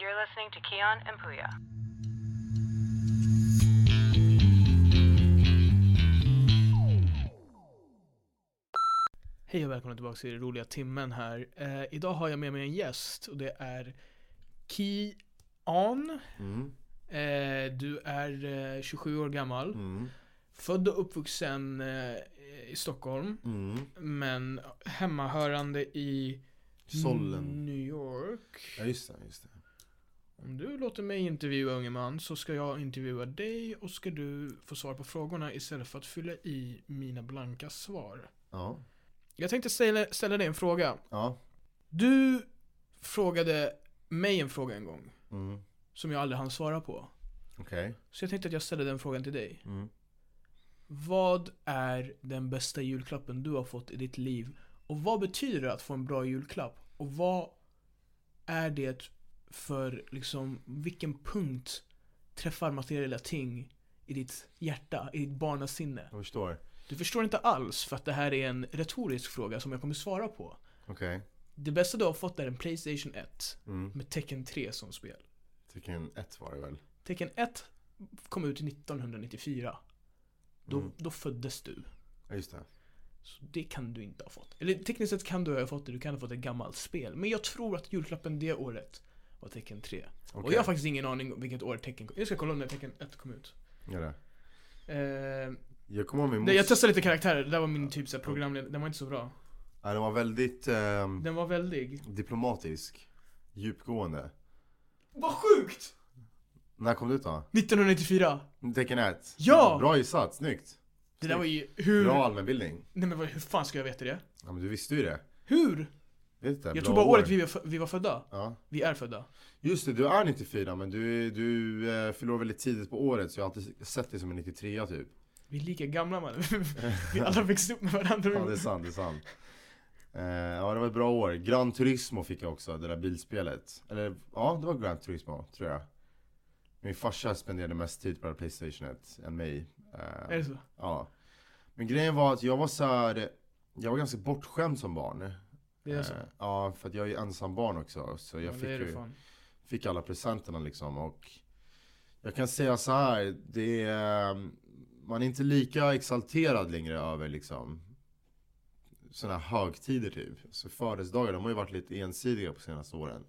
listening to Keon and Puya. Hej och välkomna tillbaka till roliga timmen här. Eh, idag har jag med mig en gäst och det är Kian. Mm. Eh, du är eh, 27 år gammal. Mm. Född och uppvuxen eh, i Stockholm. Mm. Men hemmahörande i Sollen. New York. Mm. Ja just det, just det. Om du låter mig intervjua unge man så ska jag intervjua dig och ska du få svar på frågorna istället för att fylla i mina blanka svar. Ja. Jag tänkte ställa, ställa dig en fråga. Ja. Du frågade mig en fråga en gång Mm. som jag aldrig hann svara på. Okej. Så jag tänkte att jag ställer den frågan till dig. Mm. Vad är den bästa julklappen du har fått i ditt liv? Och vad betyder det att få en bra julklapp? Och vad är det för, liksom, vilken punkt träffar materiella ting i ditt hjärta, i ditt barnasinne? Jag förstår. Du förstår inte alls för att det här är en retorisk fråga som jag kommer svara på. Okej. Det bästa du har fått är en Playstation 1 Mm. med Tekken 3 som spel. Tecken 1 var det väl? Tekken 1 kom ut 1994. Då, Mm. då föddes du. Ja just det. Så det kan du inte ha fått. Eller tekniskt sett kan du ha fått det, du kan ha fått ett gammalt spel. Men jag tror att julklappen det året var Tekken 3. Okej. Och jag har faktiskt ingen aning om vilket år Tekken kom Jag ska kolla om när Tekken 1 kom ut. Ja, det. Eh, Jag kommer ihåg min nej, jag mos... testade lite karaktärer, det där var min typ såhär programledare, den var inte så bra. Ja, den var väldigt ehm, Den var väldig. diplomatisk. Djupgående. Vad sjukt! När kom du ut då? 1994! Tecken 1? Ja! Bra gissat, snyggt. Det där var ju, hur? Bra allmänbildning. Nej men vad, hur fan ska jag veta det? Ja men du visste ju det. Hur? Vet inte, Jag bra tror bara år. året vi, var fö- vi var födda. Ja. Vi är födda. Just det, du är 94 men du, du eh, förlorar väldigt tidigt på året så jag har alltid sett dig som en 93 typ. Vi är lika gamla man. vi alla växte upp med varandra. Ja det är sant, det är sant. Eh, ja det var ett bra år. Gran Turismo fick jag också, det där bilspelet. Eller ja, det var Gran Turismo tror jag. Min farsa spenderade mest tid på det här Playstation 1 än mig. Eh, Är det så? Ja. Men grejen var att jag var så här, jag var ganska bortskämd som barn. Det är så? Eh, ja, för att jag är ju ensam barn också. Så jag Ja, fick det är det ju fan. fick alla presenterna liksom och jag kan säga så här, det är, man är inte lika exalterad längre över liksom sådana här högtider typ. Så födelsedagar, de har ju varit lite ensidiga på senaste åren.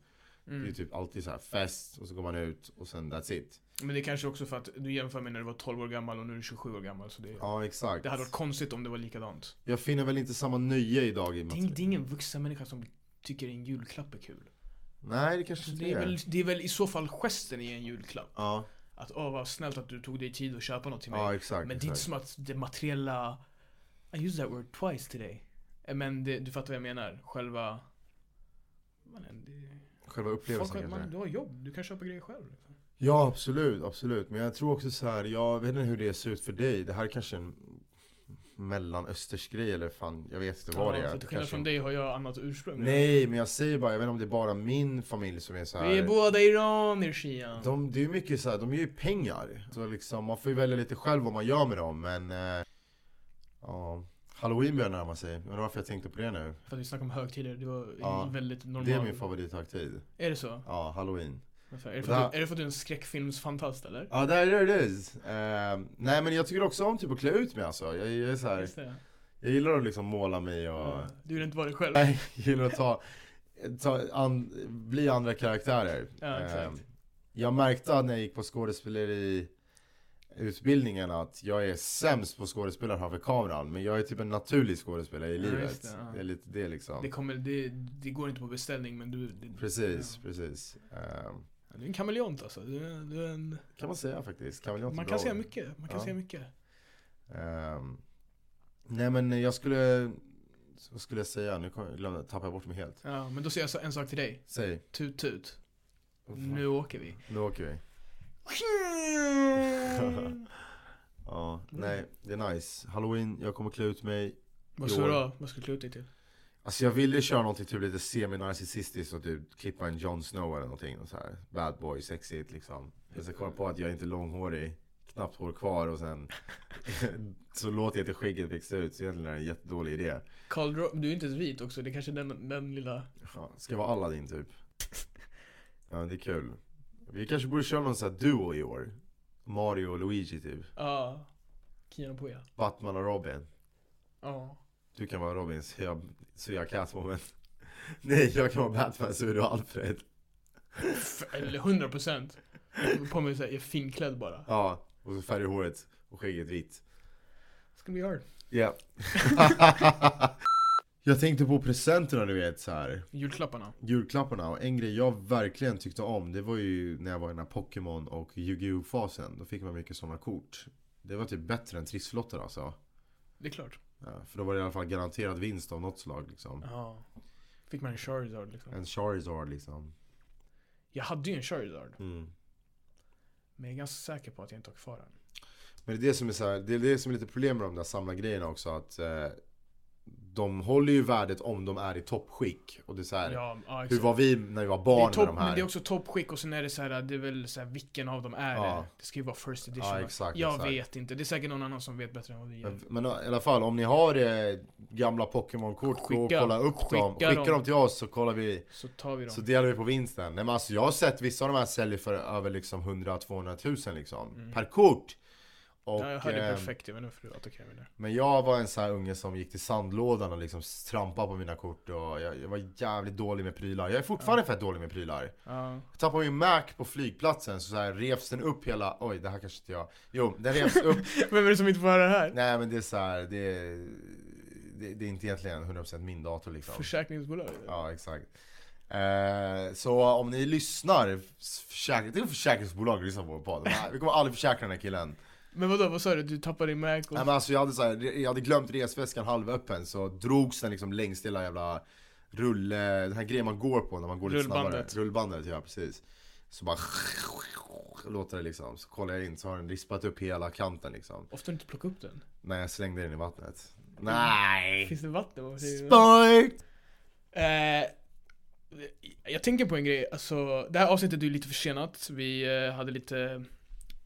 Det är Mm. ju typ alltid så här fest och så går man ut och sen that's it. Men det är kanske också för att du jämför med när du var 12 år gammal och nu är du 27 år gammal. Så det, Ja exakt. det hade varit konstigt om det var likadant. Jag finner väl inte samma nöje idag Det i är, material. det är ingen vuxen människa som tycker en julklapp är kul. Nej det kanske Så inte det, är väl, det är väl i så fall gesten i en julklapp. Ja, Att åh vad snällt att du tog dig tid att köpa något till mig. ja Men exakt. det är inte exakt. som att det materiella... I used that word twice today. Eh, Men det, du fattar vad jag menar. Själva... Man, det, Själva upplevelsen folk, kanske. man, du har jobb, du kan köpa grejer själv. liksom. Ja, absolut, absolut. Men jag tror också så här, jag vet inte hur det ser ut för dig. Det här är kanske en mellanöstersgrej eller fan, jag vet inte vad det Ja, är. så till skillnad Kanske- från dig har jag annat ursprung. Nej, men jag säger bara, jag vet inte om det är bara min familj som är så här. Vi är båda iranier Shian. de, det är ju mycket så här, de ger ju pengar. Så liksom, man får ju välja lite själv vad man gör med dem, men... Eh, ja, Halloween börjar närma sig. Jag undrar varför jag tänkte på det nu. För att vi snackade om högtider, det var Ja, väldigt normalt. Det är min favorithögtid. Är det så? Ja, halloween. Varför? Är det, Och för att där- du, är det för att du är en skräckfilmsfantast eller? Ja, där it is. Eh, nej, men jag tycker också om typ att klä ut mig alltså. Jag, jag är så här, Just det. jag gillar att liksom måla mig och... Ja. Du vill inte vara dig själv? Nej, jag gillar att ta, ta an, bli andra karaktärer. Ja, exakt. Eh, Jag märkte att när jag gick på skådespeleriutbildningen att jag är sämst på skådespelare framför kameran. Men jag är typ en naturlig skådespelare i Ja, livet. just det, ja. Det är lite det liksom. Det, kommer, det, det går inte på beställning men du... Det, Precis, Ja. precis. Eh, Du är en kameleont alltså. Du, är- du är en... kan man säga faktiskt. Kan väl inte Man bra kan säga ord. mycket. Man kan Ja. säga mycket. Ehm, nej men jag skulle, vad skulle jag säga? Nu kom- glömde, tappade jag bort mig helt. Ja, men då säger jag så, en sak till dig. Säg. Tut tut. Nu åker vi. Nu åker vi. Ja, nej, det är nice. Halloween, jag kommer klä ut mig. Vad Jo. ska du då? Vad ska du klä ut dig till? Alltså jag ville köra någonting typ lite semi-narcissistiskt och typ klippa en Jon Snow eller någonting. och Så här. Bad boy, sexigt liksom. Men så kom jag på att jag inte är långhårig. Knappt hår kvar och sen så låter jag till skägget växa ut. Så egentligen är det en jättedålig idé. Karl Ro- du är inte ens vit också. Det är kanske är den, den lilla... Ja, ska vara Aladdin typ. Ja, det är kul. Vi kanske borde köra någon sån här duo i år. Mario och Luigi typ. Ja. Kian Poya. Batman och Robin. Ja. Du kan vara Robin så jag, så jag Catwoman. Nej, jag kan vara Batman så är du Alfred. Eller 100 procent. På mig såhär, jag är finklädd bara. Ja, och så färgar håret och skägget vitt. It's gonna be hard. Ja. jag tänkte på presenterna du vet så här. Julklapparna. julklapparna och en grej jag verkligen tyckte om det var ju när jag var i den här Pokémon och Yu-Gi-Oh fasen. Då fick man mycket sådana kort. Det var typ bättre än trisslotter alltså. Det är klart. Ja, för då var det i alla fall garanterad vinst av något slag liksom. Ja. Fick man en Charizard liksom. En Charizard liksom. Jag hade ju en Charizard. Mm. Men jag är ganska säker på att jag inte har kvar den. Men det är det som är så här, det är det som är lite problem med de där samla grejerna också att eh, de håller ju värdet om de är i toppskick. Och det är så här, Ja, ja hur exakt. var vi när vi var Det är, barn med topp, de här? men det är också toppskick och sen är det så här, det är väl så här, vilken av dem är Ja. det? Det ska ju vara first edition. Ja, va? exakt, jag exakt. vet inte, det är säkert någon annan som vet bättre än vad vi gör. Men, men i alla fall, om ni har eh, gamla Pokémon-kort, gå och Skicka- kolla upp dem. skicka Skicka dem. dem till oss så kollar vi. Så tar vi dem. Så delar vi på vinsten. Nej men alltså jag har sett vissa av de här säljer för över liksom 100-200 tusen liksom. Per kort! Och, Mm. ja, jag hörde eh, perfekt, jag vet inte varför du attackerade mig där. men jag var en sån här unge som gick till sandlådan och liksom trampade på mina kort och jag, jag var jävligt dålig med prylar. Jag är fortfarande fett dålig med prylar. Ja. Jag tappade min Mac på flygplatsen så, så här revs den upp hela, oj det här kanske inte jag. Jo, den revs upp Vem är det som inte får höra det här? Nej men det är så här, det är, det, det är inte egentligen 100% min dator liksom. Försäkringsbolag? Ja exakt. Eh, så om ni lyssnar, försäk- det är försäkringsbolag som lyssnar på vår podd. Vi kommer aldrig försäkra den här killen. Men vadå, vad sa du? Du tappade din Mac och... Nej, men alltså, jag, hade så här, jag hade glömt resväskan halvöppen så drogs den liksom längs till hela jävla rull, den här grejen man går på när man går lite Rullbandet. snabbare. Rullbandet. ja precis. Så bara låter det liksom. Så kollar jag in så har den rispat upp hela kanten liksom. Ofta inte plocka upp den. När jag slängde den i vattnet. Nej! Finns Mm. det vatten? Vad säger du? Spark! Eh, jag tänker på en grej, alltså det här avsnittet är ju lite försenat. Vi eh, hade lite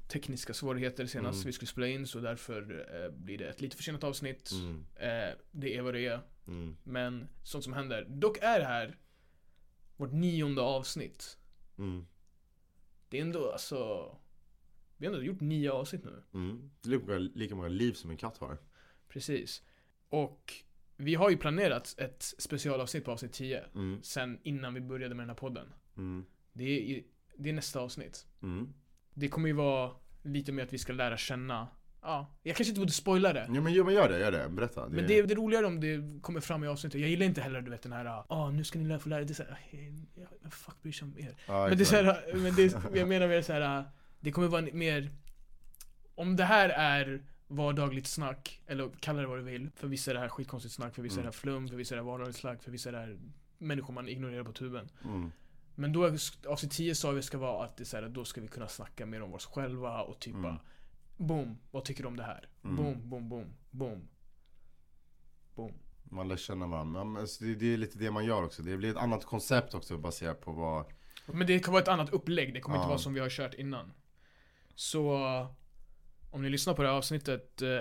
tekniska svårigheter senast Mm. vi skulle spela in så därför eh, blir det ett lite försenat avsnitt. Mm, Eh, det är vad det är. mm. Men sånt som händer. Dock är det här vårt nionde avsnitt. Mm. Det är ändå alltså... Vi har ändå gjort nio avsnitt nu. Mm. Det är lika många- lika många liv som en katt har. Precis. Och vi har ju planerat ett specialavsnitt på avsnitt 10. Mm. Sen innan vi började med den här podden. Mm. Det är, i- det är nästa avsnitt. Mm. Det kommer ju vara lite mer att vi ska lära känna. Ja, jag kanske inte borde spoila det. Ja men gör, men gör det, gör det. Berätta. Men Mm, det är, det är roligare om det kommer fram i avsnittet. Jag gillar inte heller du vet den här, ja ah, nu ska ni lära få lära er. Det är så här, "Eh, ja, vem fuck bryr sig om er? Ja, Men det är exakt. så här, men det är, jag menar mer så här, äh, det kommer vara en mer, om det här är vardagligt snack, eller kalla det vad du vill. För vissa är det här skitkonstigt snack, för vissa är det här Mm. flum, för vissa är det här vardagligt snack, för vissa är det här människor man ignorerar på tuben. Mm. Men då, avsnitt 10 sa vi ska vara att det är så här, då ska vi kunna snacka mer om oss själva och typ Mm. bara Boom, vad tycker du om det här? Mm. Boom, boom, boom, boom. Boom. Man lär känna varandra. Ja, men alltså, det, det är lite det man gör också. Det blir ett annat koncept också baserat på vad... Men det kan vara ett annat upplägg, det kommer inte Ja. vara som vi har kört innan. Så om ni lyssnar på det här avsnittet eh,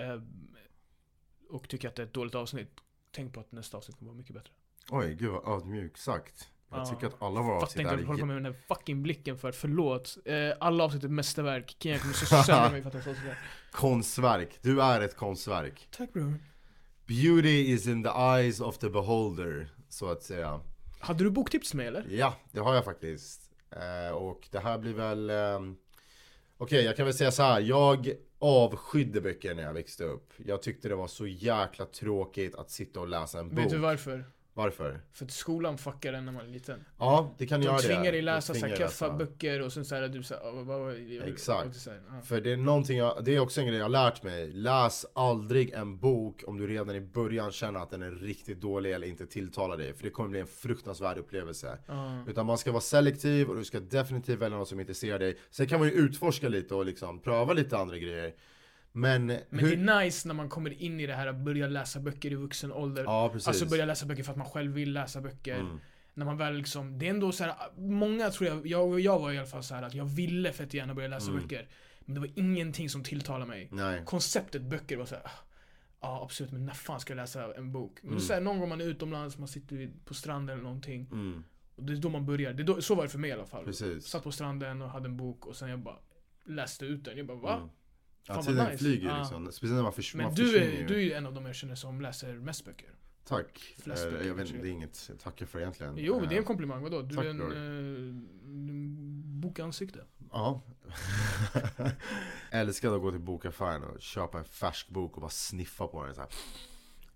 och tycker att det är ett dåligt avsnitt, tänk på att nästa avsnitt kommer vara mycket bättre. Oj gud vad ödmjukt sagt. Jag Ja. tycker att alla våra Fattar avsnitt inte är... att du håller på med den där fucking blicken för, förlåt. Eh, alla avsnitt är ett mästerverk, Kian kommer så sönder mig för att jag sa sådär. Konstverk. Du är ett konstverk. Tack bror. Beauty is in the eyes of the beholder. Så att säga. Hade du boktips med eller? Ja, det har jag faktiskt. Eh, och det här blir väl... ehm, Okej, jag kan väl säga så här. Jag avskydde böcker när jag växte upp. Jag tyckte det var så jäkla tråkigt att sitta och läsa en bok. Vet du varför? Varför? För att skolan fuckar en när man är liten. Ja, det kan De göra det. tvingar dig läsa De så här tvingar keffa läsa. böcker och sen såhär du såhär, vad vad- vad- jag- Exakt. och så här, ja. För det är någonting jag, det är också en grej jag har lärt mig. Läs aldrig en bok om du redan i början känner att den är riktigt dålig eller inte tilltalar dig. För det kommer bli en fruktansvärd upplevelse. Ja. Utan man ska vara selektiv och du ska definitivt välja något som intresserar dig. Sen kan man ju utforska lite och liksom pröva lite andra grejer. Men, Men det är nice när man kommer in i det här att börja läsa böcker i vuxen ålder. Ja, precis. Mm. Alltså börja läsa böcker för att man själv vill läsa böcker. När man väl liksom, det är ändå så här, många tror jag, jag, jag var i alla fall så här att jag ville fett gärna börja läsa Mm. böcker. Men det var ingenting som tilltalade mig. Nej. Konceptet böcker var så här. "Ah, Ja absolut, Mm. men när fan ska jag läsa en bok? Men så här, någon gång man är utomlands, man sitter vid- på stranden eller någonting. Och det är då man börjar. Det är då, så var det för mig i alla fall. Mm, Precis. Satt på stranden och hade en bok och sen jag bara läste ut den. Jag bara va? Mm. Ja, vad tiden nice. Ah. flyger Ja. liksom. Speciellt när man, förs- Men man du försvinner är, ju. Mm. du är ju en av de jag känner som läser mest böcker. Tack. Flest Eh, böcker jag vet, kanske. det är inget jag tackar för egentligen. Jo, det är en Eh, komplimang. Vadå? Du tack, är en Glory. eh, bokansikte. Ja. Älskar att gå till bokaffären och köpa en färsk bok och bara sniffa på den så här.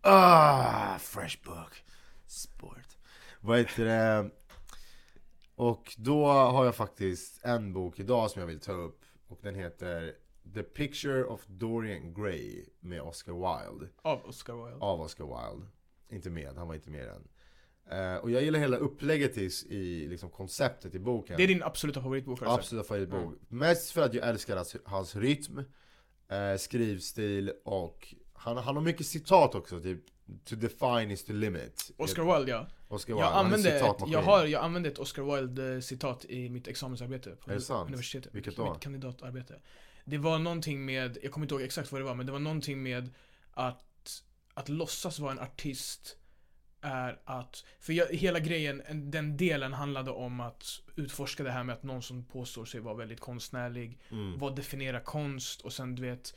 Ah, fresh book. Sport. Vad heter det? Och då har jag faktiskt en bok idag som jag vill ta upp. Och den heter The Picture of Dorian Gray med Oscar Wilde. Av Oscar Wilde. Av Oscar Wilde. Inte med, han var inte med i den. Eh, och jag gillar hela upplägget i, i liksom konceptet i boken. Det Mm. är din absoluta favoritbok alltså? har du sagt. Absolut favoritbok. Mest för att jag älskar hans, hans rytm, eh, skrivstil och han, han har mycket citat också. Typ To define is to limit. Oscar Wilde ja. Oscar Wilde. Jag han är använde, ett, citatmaskin. jag, har, jag använde ett Oscar Wilde-citat i mitt examensarbete på Är det sant? universitetet. Vilket då? Mitt kandidatarbete. Det var någonting med, jag kommer inte ihåg exakt vad det var, men det var någonting med att, att låtsas vara en artist är att, för jag, hela grejen, en- den delen handlade om att utforska det här med att någon som påstår sig vara väldigt konstnärlig, Mm. vad definierar konst och sen du vet,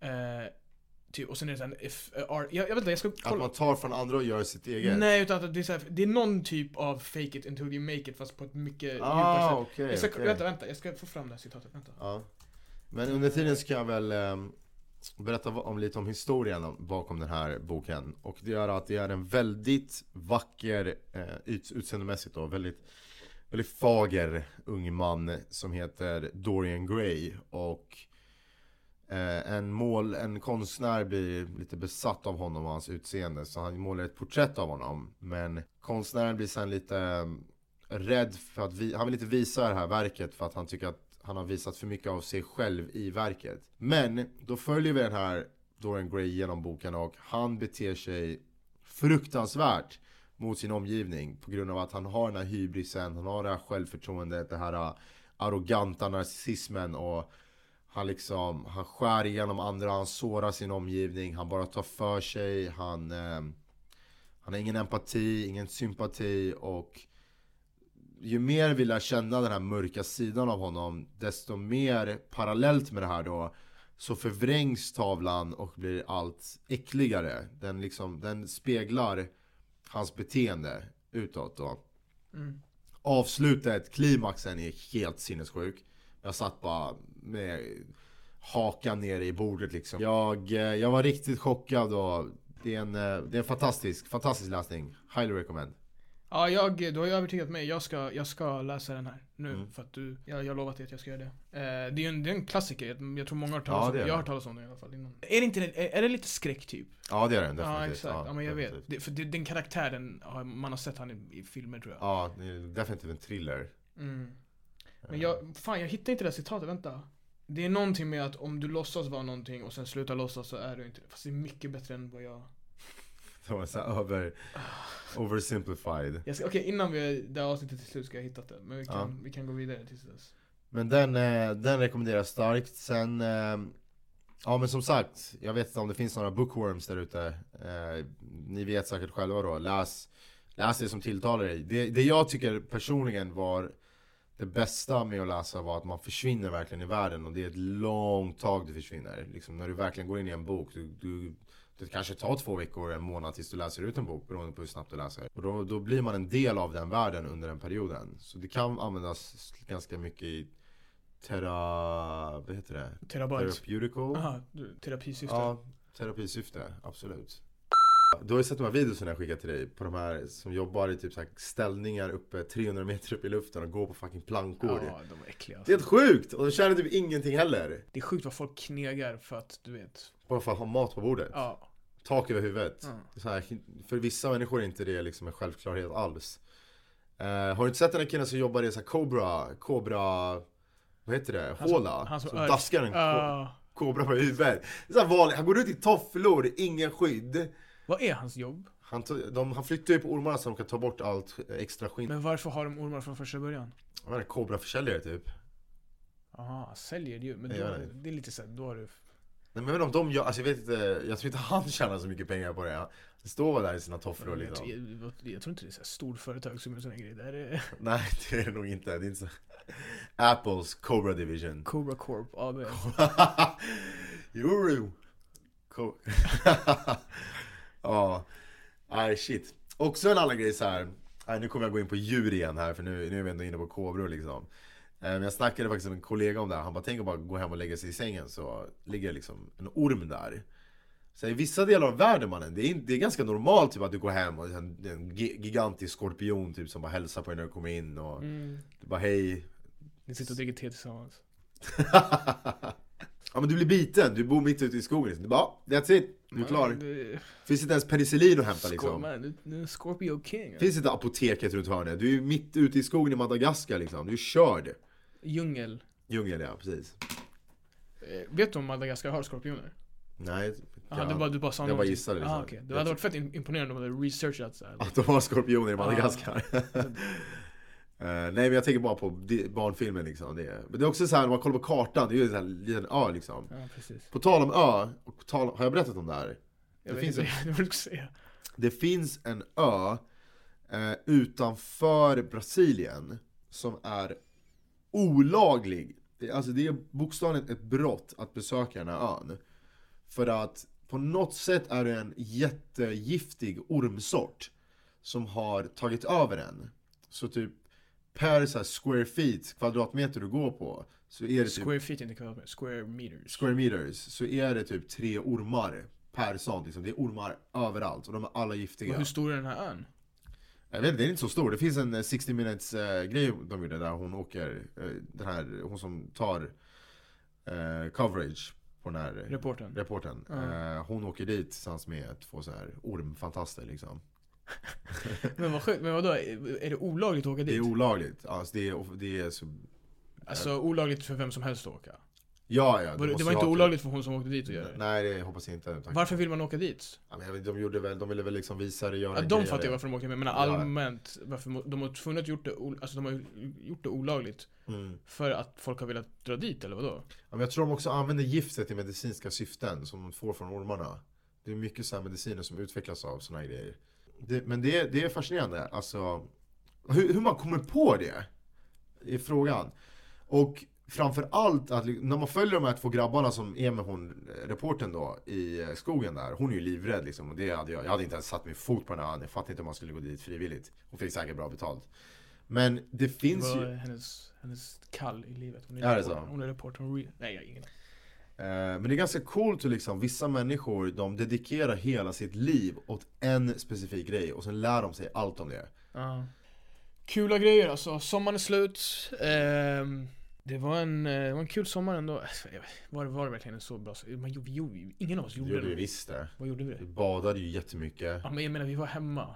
eh, typ, och sen är det såhär, if, eh, art, jag, jag vet inte, jag ska Att kolla. man tar från andra och gör sitt eget. Nej, utan att det är, så här, det är någon typ av fake it until you make it fast på ett mycket djupare Ah, sätt. okej. jag ska, okej. Vänta, vänta, jag ska få fram det här citatet. Vänta. Ja. Men under tiden ska jag väl ehm, berätta va- om lite om historien om- bakom den här boken. Och det är att det är en väldigt vacker, eh, ut, utseendemässigt då, väldigt, väldigt fager ung man som heter Dorian Gray. Och eh, en, mål, en konstnär blir lite besatt av honom och hans utseende. Så han målar ett porträtt av honom. Men konstnären blir sen lite ehm, rädd för att vi, han vill inte visa det här verket för att han tycker att han har visat för mycket av sig själv i verket. Men då följer vi den här Dorian Gray genom boken och han beter sig fruktansvärt mot sin omgivning på grund av att han har den här hybrisen, han har det här självförtroendet, det här äh, arroganta narcissismen och han liksom, han skär igenom andra, han sårar sin omgivning, han bara tar för sig, han, eh, han har ingen empati, ingen sympati och ju mer vi lär känna den här mörka sidan av honom Desto mer parallellt med det här då Så förvrängs tavlan och blir allt äckligare Den, liksom, den speglar hans beteende utåt då Mm. Avslutet, klimaxen är helt sinnessjuk Jag satt bara med hakan nere i bordet liksom Jag, eh, jag var riktigt chockad och det är en, eh, det är en fantastisk, fantastisk läsning Highly recommend Ja, jag, du har ju övertygat mig. Jag ska, jag ska läsa den här nu. Mm. För att du, jag, jag har lovat dig att jag ska göra det. Eh, det är ju en, det är en klassiker. Jag- Jag tror många har hört Ja, talas om det är den. Jag det. har hört talas om den i alla fall innan. Är det inte den, är, är det lite skräck typ? Ja det är den definitivt Ja, exakt. Ja, men jag definitivt. vet. Det, för det, den karaktären, har, man har sett han i, i filmer tror jag. Ja, det är definitivt en thriller. Eh, Mm. Men jag, fan jag hittar inte det här citatet, vänta. Det är någonting med att om du låtsas vara någonting och sen slutar låtsas så är du inte det. Fast det är mycket bättre än vad jag... Det var så här över, oversimplified. jag ska- Okej, innan vi, det här avsnittet till slut ska jag hitta det. Men vi kan, vi kan gå vidare tills dess. Men den, eh, den rekommenderas starkt. Sen, eh, ja men som sagt, jag vet inte om det finns några bookworms där ute. Eh, Ni vet säkert själva då, läs, läs det som tilltalar dig. Det, det jag tycker personligen var det bästa med att läsa var att man försvinner verkligen i världen och det är ett långt tag du försvinner. Liksom när du verkligen går in i en bok, du, du, det kanske tar två veckor, en månad tills du läser ut en bok beroende på hur snabbt du läser. Och då, då blir man en del av den världen under den perioden. Så det kan användas ganska mycket i tera... vad heter det? Terabyte. Therapeutical? Aha, du- terapisyfte. Ja, terapisyfte, absolut. Du har ju sett de här videorna jag skickat till dig på de här som jobbar i typ så här ställningar uppe 300 meter upp i luften och går på fucking plankor. Ja, de är äckliga. Det alltså. är helt sjukt! Och de tjänar typ ingenting heller. Det är sjukt vad folk knegar för att, du vet. Bara för att ha mat på bordet. Ja. Tak över huvudet. Mm. Så här, för vissa människor är inte det liksom en självklarhet alls. Eh, har du inte sett den här killen som jobbar i så här Cobra, Cobra, vad heter det? Han som- Håla? han som som örk- daskar en ko- Ah, kobra på huvudet. Det är så här vanligt, han går ut i tofflor, ingen skydd. vad är hans jobb? Han, to- de, han flyttar ju på ormarna så de kan ta bort allt eh, extra skinn. Men varför har de ormar från första början? Han är en kobraförsäljare typ. Aha, säljer ju. Men Jag då, vet inte. det är lite såhär, då har du... Nej, men jag vet inte om de gör, alltså jag vet inte, jag tror inte han tjänar så mycket pengar på det. Det står där i sina tofflor Jag, liksom. jag, jag tror inte det är så här storföretag som gör såna här grejer. Det här är Nej, det är det nog inte. Det är inte så. Apples Cobra Division. Cobra Corp AB. Juru! Co- ja, nej shit. Också en annan grej så här. Nej, nu kommer jag gå in på djur igen här för nu, nu är vi ändå inne på kobror liksom. Eh, men Jag snackade faktiskt med en kollega om det här. Han bara, tänk att bara gå hem och lägga sig i sängen så ligger liksom en orm där. Så I vissa delar av världen mannen, det är, in- det är ganska normalt typ, att du går hem och det är en, det är en gi- gigantisk skorpion typ, som bara hälsar på dig när du kommer in och Mm. du bara hej, Ni sitter och dricker te tillsammans. ja men du blir biten, du bor mitt ute i skogen. Liksom. Du bara, "Ja, that's it, du är klar. Det- Finns inte ens penicillin att hämta Skor, liksom. man, du, du är en Scorpio King. alltså. Finns inte apoteket runt hörnet. Du är ju mitt ute i skogen i Madagaskar liksom. Du är körd. Djungel. Djungel ja, precis. Eh, Vet du om Madagaskar har skorpioner? Nej, Aha, det var, du bara sa jag någonting. bara gissade liksom. Ah. Ah, okej. Det hade varit fett im- imponerande om du hade researchat såhär. Att de har skorpioner i Madagaskar. Eh, nej men jag tänker bara på di- barnfilmen liksom. Det är, men det är också så här, när man kollar på kartan, det är ju en sån här liten ö liksom. Ja, precis. På tal om ö, och på tal har jag berättat om det här? Jag Det det finns finns inte, det var det jag skulle säga. Det finns en ö eh, utanför Brasilien som är olaglig. Det- Alltså det är bokstavligen ett brott att besöka den här ön. För att på något sätt är det en jättegiftig ormsort som har tagit över den. Så typ per så här square feet, kvadratmeter du går på, så är det typ Square feet inte kvadratmeter, square meters. square meters, så är det typ tre ormar per sånt liksom. Det är ormar överallt och de är alla giftiga. Och hur stor är den här ön? Jag vet inte, den är inte så stor. Det finns en eh, 60 minutes eh, grej de gjorde där hon åker, eh, den här, hon som tar eh, coverage på den här Reporten. reporten. Eh, hon åker dit tillsammans med två så här ormfantaster liksom. Men vad sjukt, men vadå? Är är det olagligt att åka Det är dit? olagligt. Alltså, det, är, det är så... Alltså olagligt för vem som helst att åka? Ja, ja. du Var det, måste det var ha inte typ- olagligt för hon som åkte dit att göra det? Nej, det hoppas jag inte. Tack. Varför vill man åka dit? Ja, men jag vet, de, gjorde väl, de ville väl liksom visa det, göra Ja, en de grej av fattar ju det. varför de åker med, men allmänt, varför må- de har tvungna att gjort det, ol- alltså de har ju gjort det olagligt Mm. för att folk har velat dra dit eller vadå? Ja, men jag tror de också använder giftet i medicinska syften som de får från ormarna. Det är mycket så här mediciner som utvecklas av såna här grejer. Det, men det, det är fascinerande, alltså hur, hur man kommer på det är frågan. Och framför allt att li- när man följer de här två grabbarna som är med hon, eh, reportern då, i eh, skogen där. Hon är ju livrädd liksom. Och det hade jag, jag hade inte ens satt min fot på den här ön. Jag fattar inte om man skulle gå dit frivilligt. Hon fick säkert bra betalt. Men det Det finns var ju... hennes, hennes kall i livet. Hon Är det reporter. så? Hon är reporter. Hon re- Nej, jag har ingen Eh, Men det är ganska coolt hur liksom, vissa människor de dedikerar hela sitt liv åt en specifik grej och sen lär de sig allt om det. Kula grejer alltså. Sommaren är slut. Ehm, det, var en, eh, det var en kul sommar ändå. Alltså, jag vet- Var det, var det verkligen en så bra sommar? Man gjorde, vi gjorde, ju- ingen av oss Det gjorde gjorde vi det. visst det. Vad gjorde vi? Vi det? badade ju jättemycket. Ja, men jag menar, vi var hemma.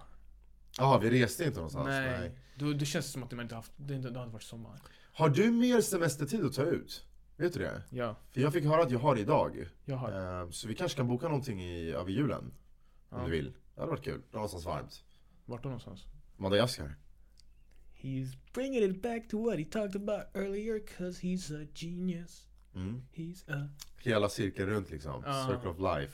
Ja, ah, vi reste inte någonstans. Nej. Nej. Då, det känns som att det man inte haft, det, inte, det hade varit sommar. Har du mer semestertid att ta ut? Vet du det? Ja, För jag fick höra att jag har det idag. jag har. Eh, Så vi kanske kan boka någonting i, över julen. Om Ja. du vill. Det hade varit kul. Någonstans varmt. Vart då någonstans? Madagaskar. He's bringing it back to what he talked about earlier cause he's a genius. Mm. He's a... Hela cirkeln runt liksom. Ja. Circle of life.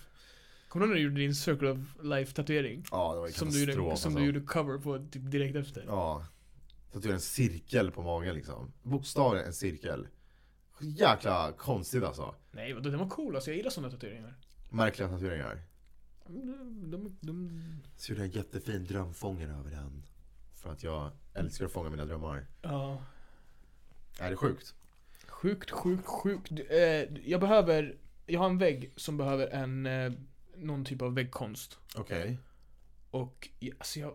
Kommer du ihåg när du gjorde din Circle of Life tatuering? Ja, det var ju Som katastrof du, gjorde, alltså. som du gjorde cover på typ direkt efter. Ja. Så att du gör en cirkel på magen liksom. Bokstavligen en cirkel. Jäkla konstigt alltså. Nej vadå, den var cool alltså. Jag gillar sådana tatueringar. Märkliga tatueringar. Mm, De, de, de... Så gjorde jag en jättefin drömfångare över den. För att jag älskar att fånga mina drömmar. Ja. Är det sjukt? Sjukt, sjukt, sjukt. Du, Eh, jag behöver, jag har en vägg som behöver en, eh, någon typ av väggkonst. Okej. Och, ja, alltså jag,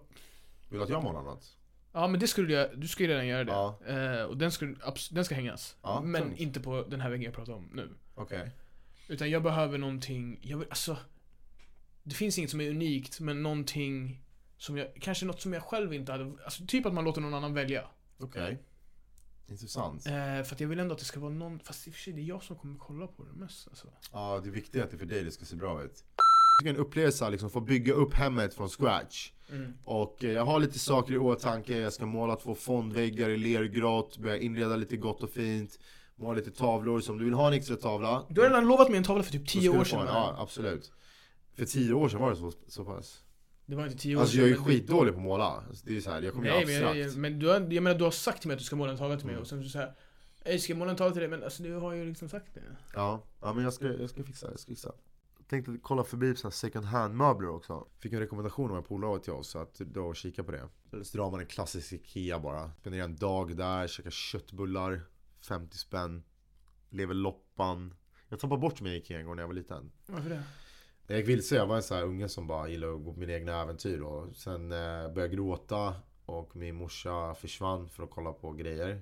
Vill du att jag målar något? ja men det skulle jag, du skulle redan göra det. Ja. Eh, och den, skulle, abs- den ska hängas. Ja, men tungt. inte på den här väggen jag pratar om nu. Okej. Utan jag behöver någonting, jag vill, alltså Det finns inget som är unikt men någonting som jag, kanske något som jag själv inte hade, alltså typ att man låter någon annan välja. Okej. Intressant. Ja, Eh, för att jag vill ändå att det ska vara någon, fast i och för sig det är jag som kommer kolla på det mest alltså. det är viktigt att det för dig det ska se bra ut. Jag tycker en upplevelse att liksom få bygga upp hemmet från scratch. Mm. Och eh, jag har lite saker i åtanke. Jag ska måla två fondväggar i lergrått, börja inreda lite gott och fint. De har lite tavlor, så om du vill ha en extra tavla Du har redan lovat mig en tavla för typ då tio ska du år få sedan. en. Ja, absolut. För tio år sedan var det så, så pass. Det var inte tio år Alltså jag är ju men- skitdålig på att måla. Alltså, det är ju såhär, jag Mm. kommer Nej, ju men, abstrakt. jag, men du, har, jag menar, du har sagt till mig att du ska måla en tavla till mig och sen så såhär jag ska jag måla en tavla till dig? Men alltså du har ju liksom sagt det. Ja, ja men jag ska, jag ska fixa, jag ska fixa. Tänkte kolla förbi så här second hand möbler också. Fick en rekommendation av en polare till oss, så att då kika på det. Så drar man en klassisk IKEA bara. Spenderar en dag där, käkar köttbullar, 50 spänn. Lever loppan. Jag tappade bort mig i IKEA en gång när jag var liten. Varför det? Jag gick vilse, jag var en sån här unge som bara gillade att gå på mina egna äventyr. Och sen eh, började jag gråta och min morsa försvann för att kolla på grejer.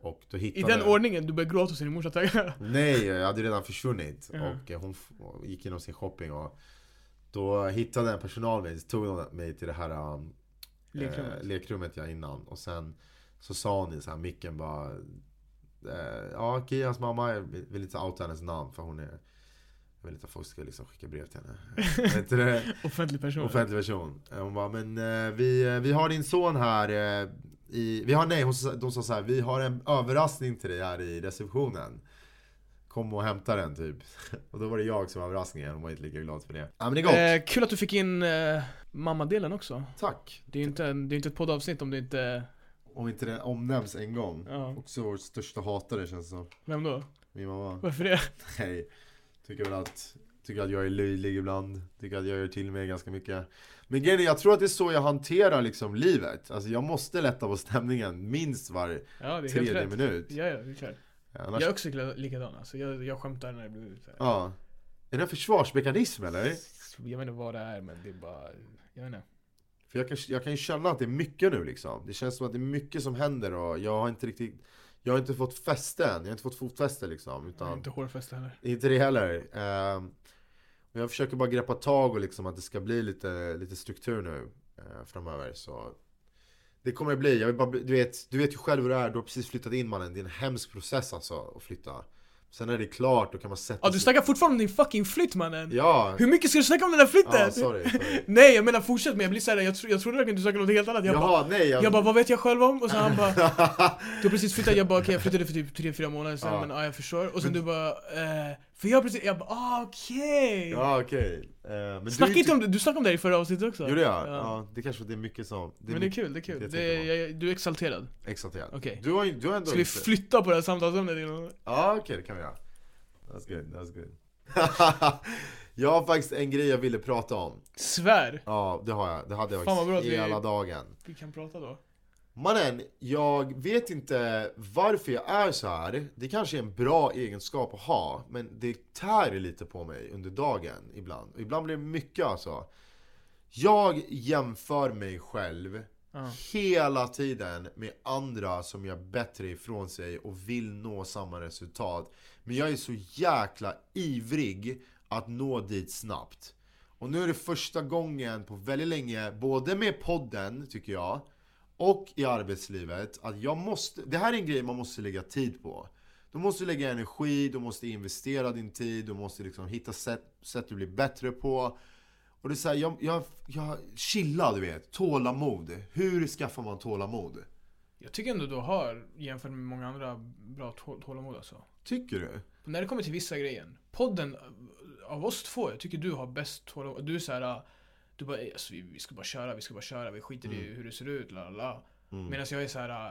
Och då I hittade den ordningen, du började gråta och din morsa Eh, taggade. Nej, jag hade redan försvunnit. Ja. Och eh, hon f- gick igenom sin shopping och då hittade en personal mig, så tog hon mig till det här um, Lekrummet. Eh, lekrummet ja, innan. Och sen så sa hon i så här micken bara eh, Ja, Kias mamma, jag vill inte outa hennes namn för hon är Jag vill inte att folk ska liksom skicka brev till henne. Vet inte det? Offentlig person. Offentlig version. Eh, Hon bara, men eh, vi, eh, vi har din son här eh, i, vi har, nej, hon, sa- de sa så här, vi har en överraskning till dig här i receptionen. Kom och hämta den typ. Och då var det jag som var överraskningen, hon var inte lika glad för det. Ja men det är gott. Eh, kul att du fick in eh, mammadelen också. Tack. Det är ju inte, en- det är inte ett poddavsnitt om det inte... Om inte det omnämns en gång. Ja. Också vår största hatare känns det som. Vem då? Min mamma. Varför det? Nej. Tycker väl att, tycker att jag är löjlig ibland. Tycker att jag gör till mig ganska mycket. Men grejen är, jag tror att det är så jag hanterar liksom livet. Alltså jag måste lätta på stämningen minst var Ja, det är helt tredje rätt. minut. Ja, ja, det är klart. Annars, Jag är också li- likadan alltså. Jag, jag skämtar när det blir så här. ja. Är det en försvarsmekanism eller? Jag vet inte vad det är men det är bara... Jag vet inte. För jag kan, jag kan ju känna att det är mycket nu liksom. Det känns som att det är mycket som händer och jag har inte riktigt jag har inte fått fäste än, jag har inte fått fotfäste liksom. Jag är Utan inte hårfäste heller. Inte det heller. Ehm, och jag försöker bara greppa tag och liksom att det ska bli lite, lite struktur nu eh, framöver. Så det kommer det bli. Jag vill bara, bli- du, vet, du vet ju själv hur det är, du har precis flyttat in mannen. Det är en hemsk process alltså att flytta. Sen när det är klart då kan man sätta Ja, du snackar fortfarande om din fucking flytt mannen! Ja, Hur mycket ska du snacka om den här flytten? ja sorry. sorry. Nej jag menar fortsätt men jag blir såhär, jag, tro, jag trodde verkligen du snackade om något helt annat Jag, bara, Jaha, nej. jag bara, vad vet jag själv om? Och sen han bara, du har precis flyttat, jag bara okej jag flyttade för typ 3-4 månader sedan Ja. men ja jag förstår Och sen du bara, eh, för jag har precis, jag bara ah, okej! Ja, okej. Okay. Uh, Snacka inte om det, du snackade om det i förra avsnittet också Gjorde jag? Ja. Ja. det kanske det är mycket som... Det är Men det är mycket kul, det är kul, det det tänker man. jag, jag, du är exalterad exalterat. Okej. Du har ju du har ändå Ska vi inte- flytta på det här samtalsämnet? eller något? Ja, okej det kan vi göra. That's good, that's good. jag har faktiskt en grej jag ville prata om. Svär! Ja, det har jag. Det hade jag Fan, vad bra faktiskt att vi- hela dagen. Vi kan prata då Mannen, jag vet inte varför jag är så här. Det kanske är en bra egenskap att ha, men det tär lite på mig under dagen ibland. Och ibland blir det mycket alltså. Jag jämför mig själv Ja. hela tiden med andra som gör bättre ifrån sig och vill nå samma resultat. Men jag är så jäkla ivrig att nå dit snabbt. Och nu är det första gången på väldigt länge, både med podden tycker jag, och i arbetslivet, att jag måste, det här är en grej man måste lägga tid på. Du måste lägga energi, du måste investera din tid, du måste liksom hitta sätt, sätt du blir bättre på. Och det är så här, jag, jag, jag chilla du vet, tålamod. Hur skaffar man tålamod? Jag tycker ändå du har, jämfört med många andra, bra tå- tålamod alltså Tycker du? När det kommer till vissa grejen. Podden eh, av oss två, jag tycker du har bäst tålamod. Du är såhär, du bara "Ey, alltså, vi, vi ska bara köra, vi ska bara köra, vi skiter i Mm. hur det ser ut, la la la. Medan jag är såhär,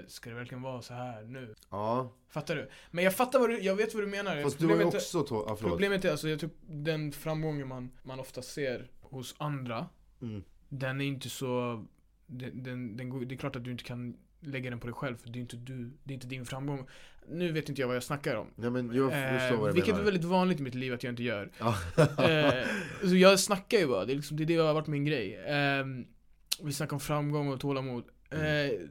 eh, ska det verkligen vara så här nu? Ja, Fattar du? Men jag fattar vad du, jag vet vad du menar. fast du har ju Eh, problemet, är- också tå- ja, förlåt. problemet är alltså, jag tror den framgången man, man ofta ser hos andra, Mm. den är inte så, den, den, den går, det är klart att du inte kan lägga den på dig själv, för det är inte du, det är inte din framgång. Nu vet inte jag vad jag snackar om. Nej men jag förstår Eh, vad du vilket menar. är väldigt vanligt i mitt liv att jag inte gör. Ja. Eh, så jag snackar ju bara, det är, liksom, det, är det har varit min grej. Eh, vi snackar om framgång och tålamod. Eh, Mm.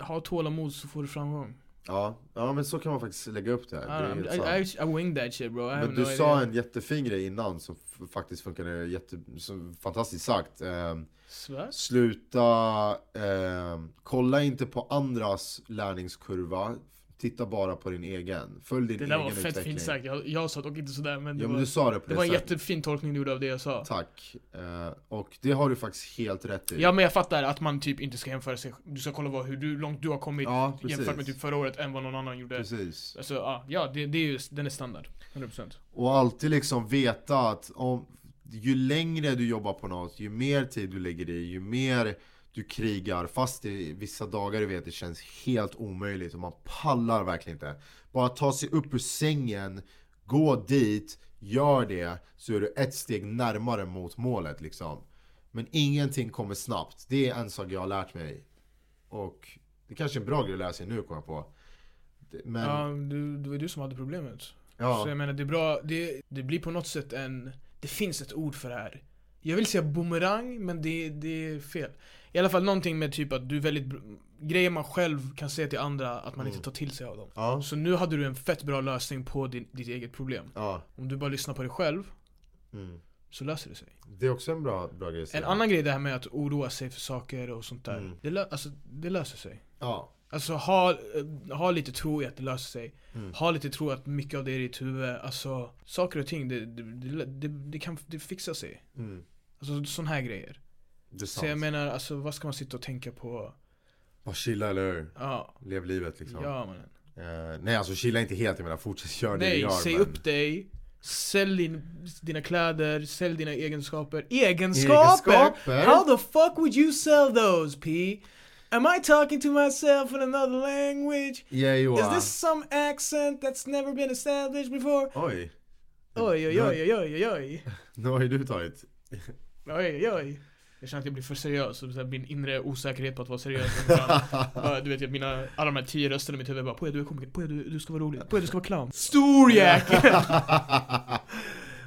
ha tålamod så får du framgång. ja. ja, men så kan man faktiskt lägga upp det. I, här. det är helt sant. don't, I, I, I winged that shit bro. I have Men du no sa idea. en jättefin grej innan som f- faktiskt funkade jätte, som fantastiskt sagt. Ehm, Svär? sluta, ehm, kolla inte på andras lärningskurva. Titta bara på din egen. Följ din Det där egen var fett utveckling. fint sagt, jag, jag sa dock inte sådär men det Ja, var, men du sa det på det det, var en sättet. jättefin tolkning du gjorde av det jag sa Tack. Eh, och det har du faktiskt helt rätt i. Ja men jag fattar att man typ inte ska jämföra sig, du ska kolla vad, hur du, långt du har kommit Ja, precis. jämfört med typ förra året än vad någon annan gjorde Precis. Alltså ja, ja det, det är ju, den är standard, 100% Och alltid liksom veta att om, ju längre du jobbar på något, ju mer tid du lägger i, ju mer du krigar. Fast det, vissa dagar du vet det känns helt omöjligt och man pallar verkligen inte. Bara ta sig upp ur sängen, gå dit, gör det, så är du ett steg närmare mot målet liksom. Men ingenting kommer snabbt. Det är en sak jag har lärt mig. Och det kanske är en bra grej att lära sig nu kommer jag på. Det- Men, Ja, du, det var du som hade problemet ja. Så jag menar det är bra, det, det blir på något sätt en, det finns ett ord för det här Jag vill säga boomerang men det, det är fel I alla fall någonting med typ att du är väldigt, br- grejer man själv kan säga till andra att Mm. man inte tar till sig av dem Ja. Så nu hade du en fett bra lösning på din, ditt eget problem ja. Om du bara lyssnar på dig själv Mm. så löser det sig Det är också en bra, bra grej att En säga. annan grej det här med att oroa sig för saker och sånt där. Mm. Det, lö- alltså, det löser sig. Ja, Alltså ha, eh, ha lite tro i att det löser sig. Mm. Ha lite tro att mycket av det är i ditt huvud. Alltså saker och ting, det, det, det, det, det kan det fixar sig. mm. Alltså sådana här grejer. det Så är sant. jag menar, alltså vad ska man sitta och tänka på? Bara chilla eller hur? Ja, Lev livet liksom. ja mannen. Eh, nej alltså chilla inte helt, jag menar fortsätt göra det du Nej, gör. säg men- upp dig. Sälj din, dina kläder, sälj dina egenskaper. Egenskaper! Egenskaper? How the fuck would you sell those P? Am I talking to myself in another language? Ja, Joa. Is this some accent that's never been established before? Oj, Oj, oj, oj, oj, oj, oj, oj, nu har ju du tagit. oj, oj. Jag känner att jag blir för seriös, och så här, min inre osäkerhet på att vara seriös ibland. Bara, Du vet, jag- mina, alla de här tio rösterna i mitt huvud bara 'Poja du är komiker, Poja du, du ska vara rolig, Poja du ska vara clown' Stor jäkel!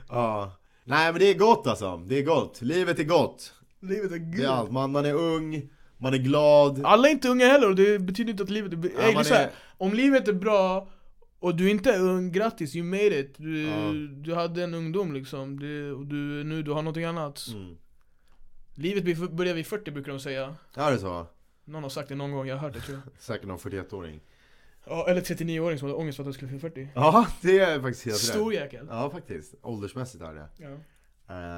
ja. Nej men det är gott alltså, det är gott. Livet är gott. Livet är gud. Det är allt. Man, man är ung, man är glad. Alla är inte unga heller och det betyder inte att livet är... b- Ja, Ey, det man är... så här, är- Om livet är bra och du inte är ung, grattis, you made it! Du, Ja. du hade en ungdom liksom, det, och du, nu du har någonting annat Mm. Livet blir- börjar vid 40 brukar de säga Ja det är så. Någon har sagt det någon gång, jag har hört det tror jag Säkert någon 41-åring. Ja, eller 39-åring som hade ångest för att de skulle fylla 40 Ja det är faktiskt helt Stor rätt. jäkel Ja faktiskt, åldersmässigt är det. ja. Uh,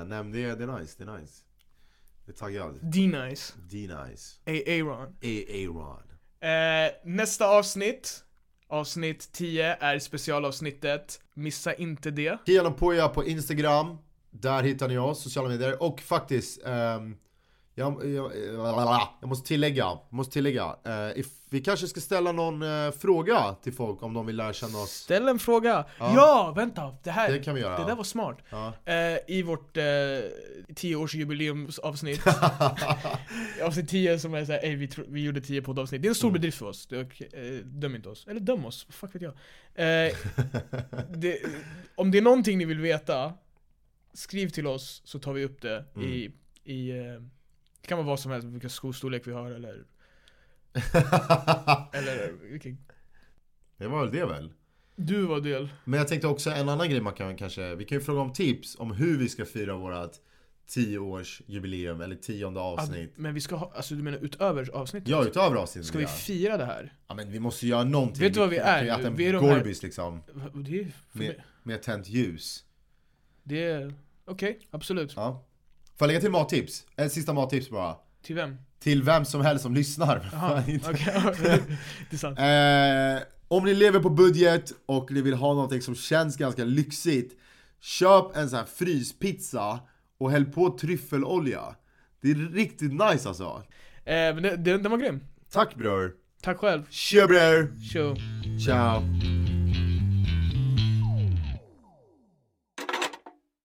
nej men det, är- det är nice, det är nice. Jag är taggad. D-Nice, D-nice. A-Aaron A-Aaron. eh, Nästa avsnitt Avsnitt 10 är specialavsnittet Missa inte det Kian och Poja på Instagram. Där hittar ni oss, sociala medier. Och faktiskt, ehm, jag, jag, jag måste tillägga, jag måste tillägga. eh, if, vi kanske ska ställa någon eh, fråga till folk om de vill lära känna oss. Ställ en fråga! Ja, Ja. vänta! Det här Det kan vi göra. det där var smart Ja. eh, I vårt eh, 10-årsjubileumsavsnitt Avsnitt 10 som är såhär, ey vi, tro- vi gjorde 10 poddavsnitt Det är en stor Mm. bedrift för oss, det är okej, eh, döm inte oss Eller döm oss, vad fuck vet jag eh, det, Om det är någonting ni vill veta Skriv till oss så tar vi upp det Mm. i, i eh, Det kan vara vad som helst, vilken skostorlek vi har eller Eller vilken det var väl det väl. Du var del Men jag tänkte också en annan grej man kan kanske, vi kan ju fråga om tips om hur vi ska fira vårat 10-årsjubileum eller tionde avsnitt. Men vi ska ha, alltså du menar utöver avsnittet? Ja, utöver avsnittet. Ska vi fira det här? Ja men vi måste göra någonting. Vet du vad vi kan ju är? äta en Vi är de här- Gorbis liksom. Va- Det är, för mig- Med, med tänt ljus. Det är... Okej, absolut. Ja. Får jag lägga till mattips? Ett sista mattips bara. Till vem? Till vem som helst som lyssnar. Jaha, Fan, inte- okej. det är sant. eh, om ni lever på budget och ni vill ha någonting som känns ganska lyxigt. Köp en sån här fryspizza och häll på tryffelolja. Det är riktigt nice alltså. Eh, men det- den, den var grym. Tack bror. Tack själv. Tja bror. Tjo. Ciao.